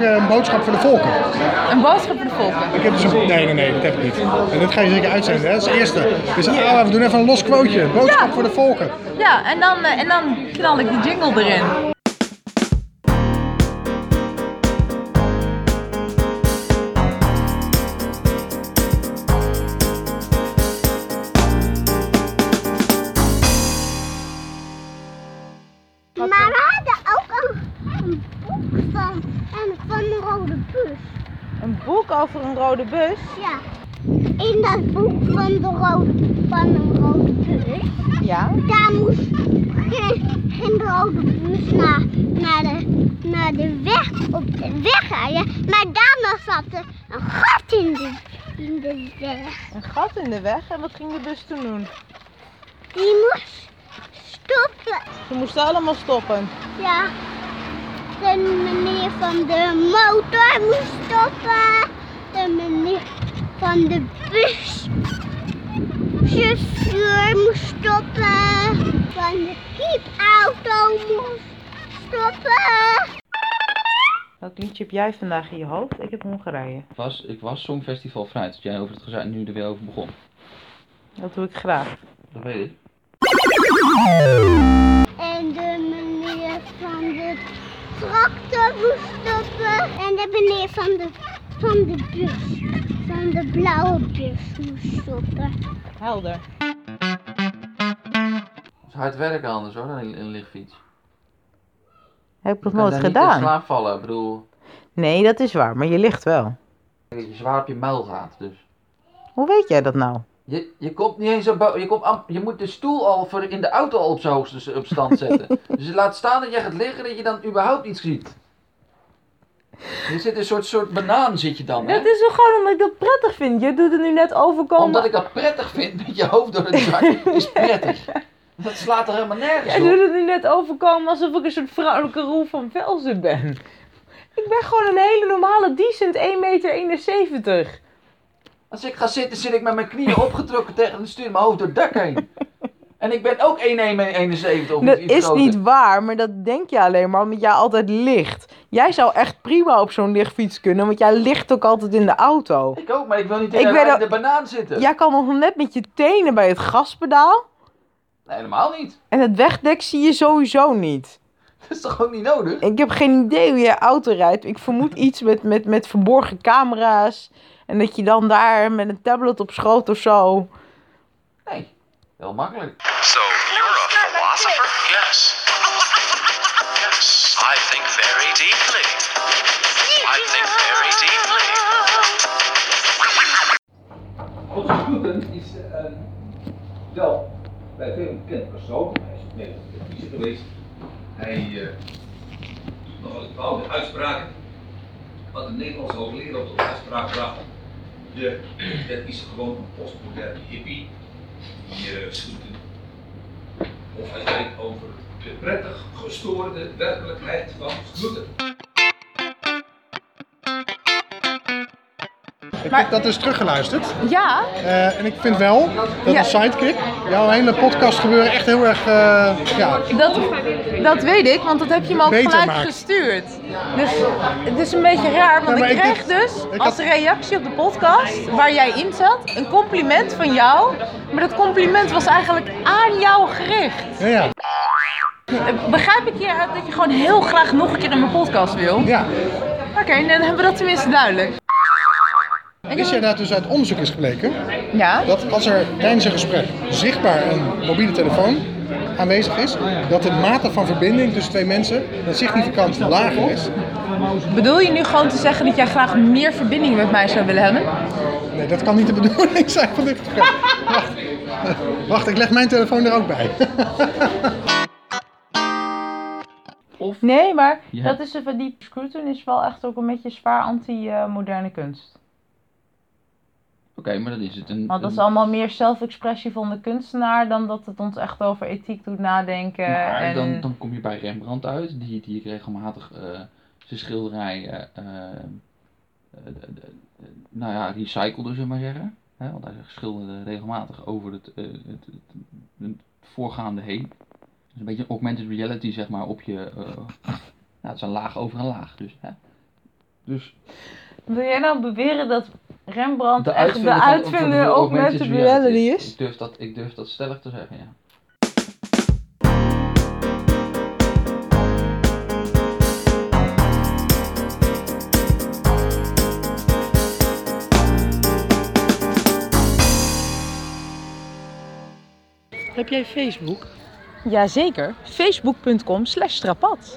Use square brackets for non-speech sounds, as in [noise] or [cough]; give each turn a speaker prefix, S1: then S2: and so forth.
S1: Eh, Een boodschap voor de volken.
S2: Een boodschap voor de volken.
S1: Ik heb dus een... Nee, nee, nee, dat heb ik niet. En dat ga je zeker uitzenden, hè? Dat is het eerste. Dus ah, we doen even een los quoteje. Boodschap
S2: Ja.
S1: voor de volken.
S2: Ja, en dan, eh, en dan knal ik de jingle erin.
S3: Maar we hadden ook een, een boek van, en van de rode bus.
S2: Een boek over een rode bus.
S3: Ja. In dat boek van de rode, van de rode bus,
S2: Ja.
S3: daar moest, ging, ging de rode bus naar, naar, de, naar de weg, op de weg rijden. Maar daarna zat er een gat in de, in de weg.
S2: Een gat in de weg. En wat ging de bus toen doen?
S3: Die moest stoppen.
S2: Ze moesten allemaal stoppen.
S3: Ja. De meneer van de motor moest stoppen. De meneer van de bus. Chauffeur moest stoppen. Van de kiepauto moest stoppen.
S2: Welk liedje heb jij vandaag in je hoofd? Ik heb Hongarije.
S4: was, ik was Songfestival fruit. dat jij over het gezuid nu er weer over begon.
S2: Dat doe ik graag.
S4: Dat weet ik.
S3: En de meneer van de tractor moest stoppen. En de meneer van de, van de bus. Van de blauwe bus moest stoppen.
S2: Helder.
S4: Het is hard werken anders hoor, dan een, een lichtfiets.
S2: Heb ik nog
S4: Kan
S2: nooit
S4: daar Niet in
S2: gedaan.
S4: slaap vallen, ik bedoel,
S2: Nee, dat is waar. Maar je ligt wel.
S4: dat je zwaar op je muil gaat. Dus.
S2: Hoe weet jij dat nou?
S4: Je, je komt niet eens op, bo- je, komt am- je moet de stoel al voor in de auto al op zijn hoogste op
S2: [laughs]
S4: stand zetten. dus je laat staan dat jij gaat liggen dat je dan überhaupt iets ziet. Je zit een soort, soort banaan zit je dan, hè?
S2: Dat is wel gewoon omdat ik dat prettig vind. Je doet het nu net overkomen.
S4: Omdat ik dat prettig vind met je hoofd door het zak is prettig.
S2: [laughs]
S4: Dat slaat er helemaal nergens
S2: Jij
S4: op.
S2: doet het nu net overkomen alsof ik een soort vrouwelijke Roel van Velzen ben. Ik ben gewoon een hele normale, decent 1,71 meter.
S4: Als ik ga zitten, zit ik met mijn knieën opgetrokken tegen de stuur, mijn hoofd door het dak heen. En ik ben ook 1,71 of
S2: Dat
S4: iets
S2: is
S4: groter.
S2: niet waar, maar dat denk je alleen maar omdat jij altijd ligt. Jij zou echt prima op zo'n lichtfiets kunnen, want jij ligt ook altijd in de auto.
S4: Ik ook, maar ik wil niet
S2: Ik
S4: in een
S2: ben
S4: rijdende
S2: ook-
S4: banaan zitten.
S2: Jij kan nog net met je tenen bij het gaspedaal
S4: Nee, helemaal niet.
S2: en het wegdek zie je sowieso niet.
S4: Dat is toch ook niet nodig?
S2: Ik heb geen idee hoe jij auto rijdt. Ik vermoed iets met, met, met verborgen camera's en dat je dan daar met een tablet op schoot of zo
S4: Nee, heel makkelijk.
S5: So you're a philosopher? [laughs] Yes. Yes. I think very deeply. I think very deeply.
S6: Opzoeken is een, wel bij veel een bekend persoon. Hij is ook Nederlands kiezer geweest. Hij eh, doet nogal een bepaalde uitspraken. Wat de Nederlandse hoogleraar tot uitspraak bracht. De, dat is gewoon een postmoderne hippie. Die eh, schiet een- Of hij spreekt over de prettig gestoorde werkelijkheid van snoeten.
S1: Ik heb dat is teruggeluisterd.
S2: Ja,
S1: Eh, en ik vind wel dat
S2: Ja.
S1: de sidekick jouw hele podcast gebeuren echt heel erg. eh, ja.
S2: dat, dat weet ik, want dat heb je me ook
S1: Beter
S2: gelijk
S1: maakt.
S2: gestuurd. Dus het is een beetje raar, want
S1: Ja, maar
S2: ik
S1: ik
S2: kreeg
S1: dacht-
S2: dus
S1: ik
S2: als
S1: had-
S2: reactie op de podcast waar jij in zat, een compliment van jou. Maar dat compliment was eigenlijk aan jou gericht.
S1: Ja, ja.
S2: Eh, Begrijp ik hieruit dat je gewoon heel graag nog een keer in mijn podcast wil?
S1: ja.
S2: Oké, dan hebben we dat tenminste duidelijk.
S1: Er Is inderdaad dus uit onderzoek is gebleken
S2: Ja?
S1: dat als er tijdens een gesprek zichtbaar een mobiele telefoon aanwezig is, dat de mate van verbinding tussen twee mensen dan significant lager is.
S2: Bedoel je nu gewoon te zeggen dat jij graag meer verbinding met mij zou willen hebben?
S1: Nee, dat kan niet de bedoeling [laughs] zijn van dit gesprek. Wacht, wacht ik leg mijn telefoon er ook bij.
S4: Of
S2: Nee, maar
S4: Ja.
S2: dat is even, die Scruton is wel echt ook een beetje zwaar anti-moderne kunst.
S4: Oké, maar dan is het een.
S2: Want dat is
S4: een-
S2: allemaal meer zelfexpressie van de kunstenaar dan dat het ons echt over ethiek doet nadenken.
S4: maar
S2: en...
S4: dan, dan kom je bij Rembrandt uit, die, die regelmatig eh, zijn schilderijen. eh, eh, de- de- de- nou ja, recyclede, zullen we maar zeggen. Hè, want hij schilderde regelmatig over het, eh, het, het, het voorgaande heen. Dus een beetje augmented reality, zeg maar, op je. eh, nou, het is een laag over een laag. Dus hè, Dus
S2: Wil jij nou beweren dat Rembrandt
S4: de
S2: echt
S4: uitvinder,
S2: de
S4: van
S2: uitvinder ook met de reality is?
S4: Ik durf, dat, ik durf dat stellig te zeggen, ja.
S7: Heb jij Facebook?
S2: Jazeker. Facebook.com slash strapat.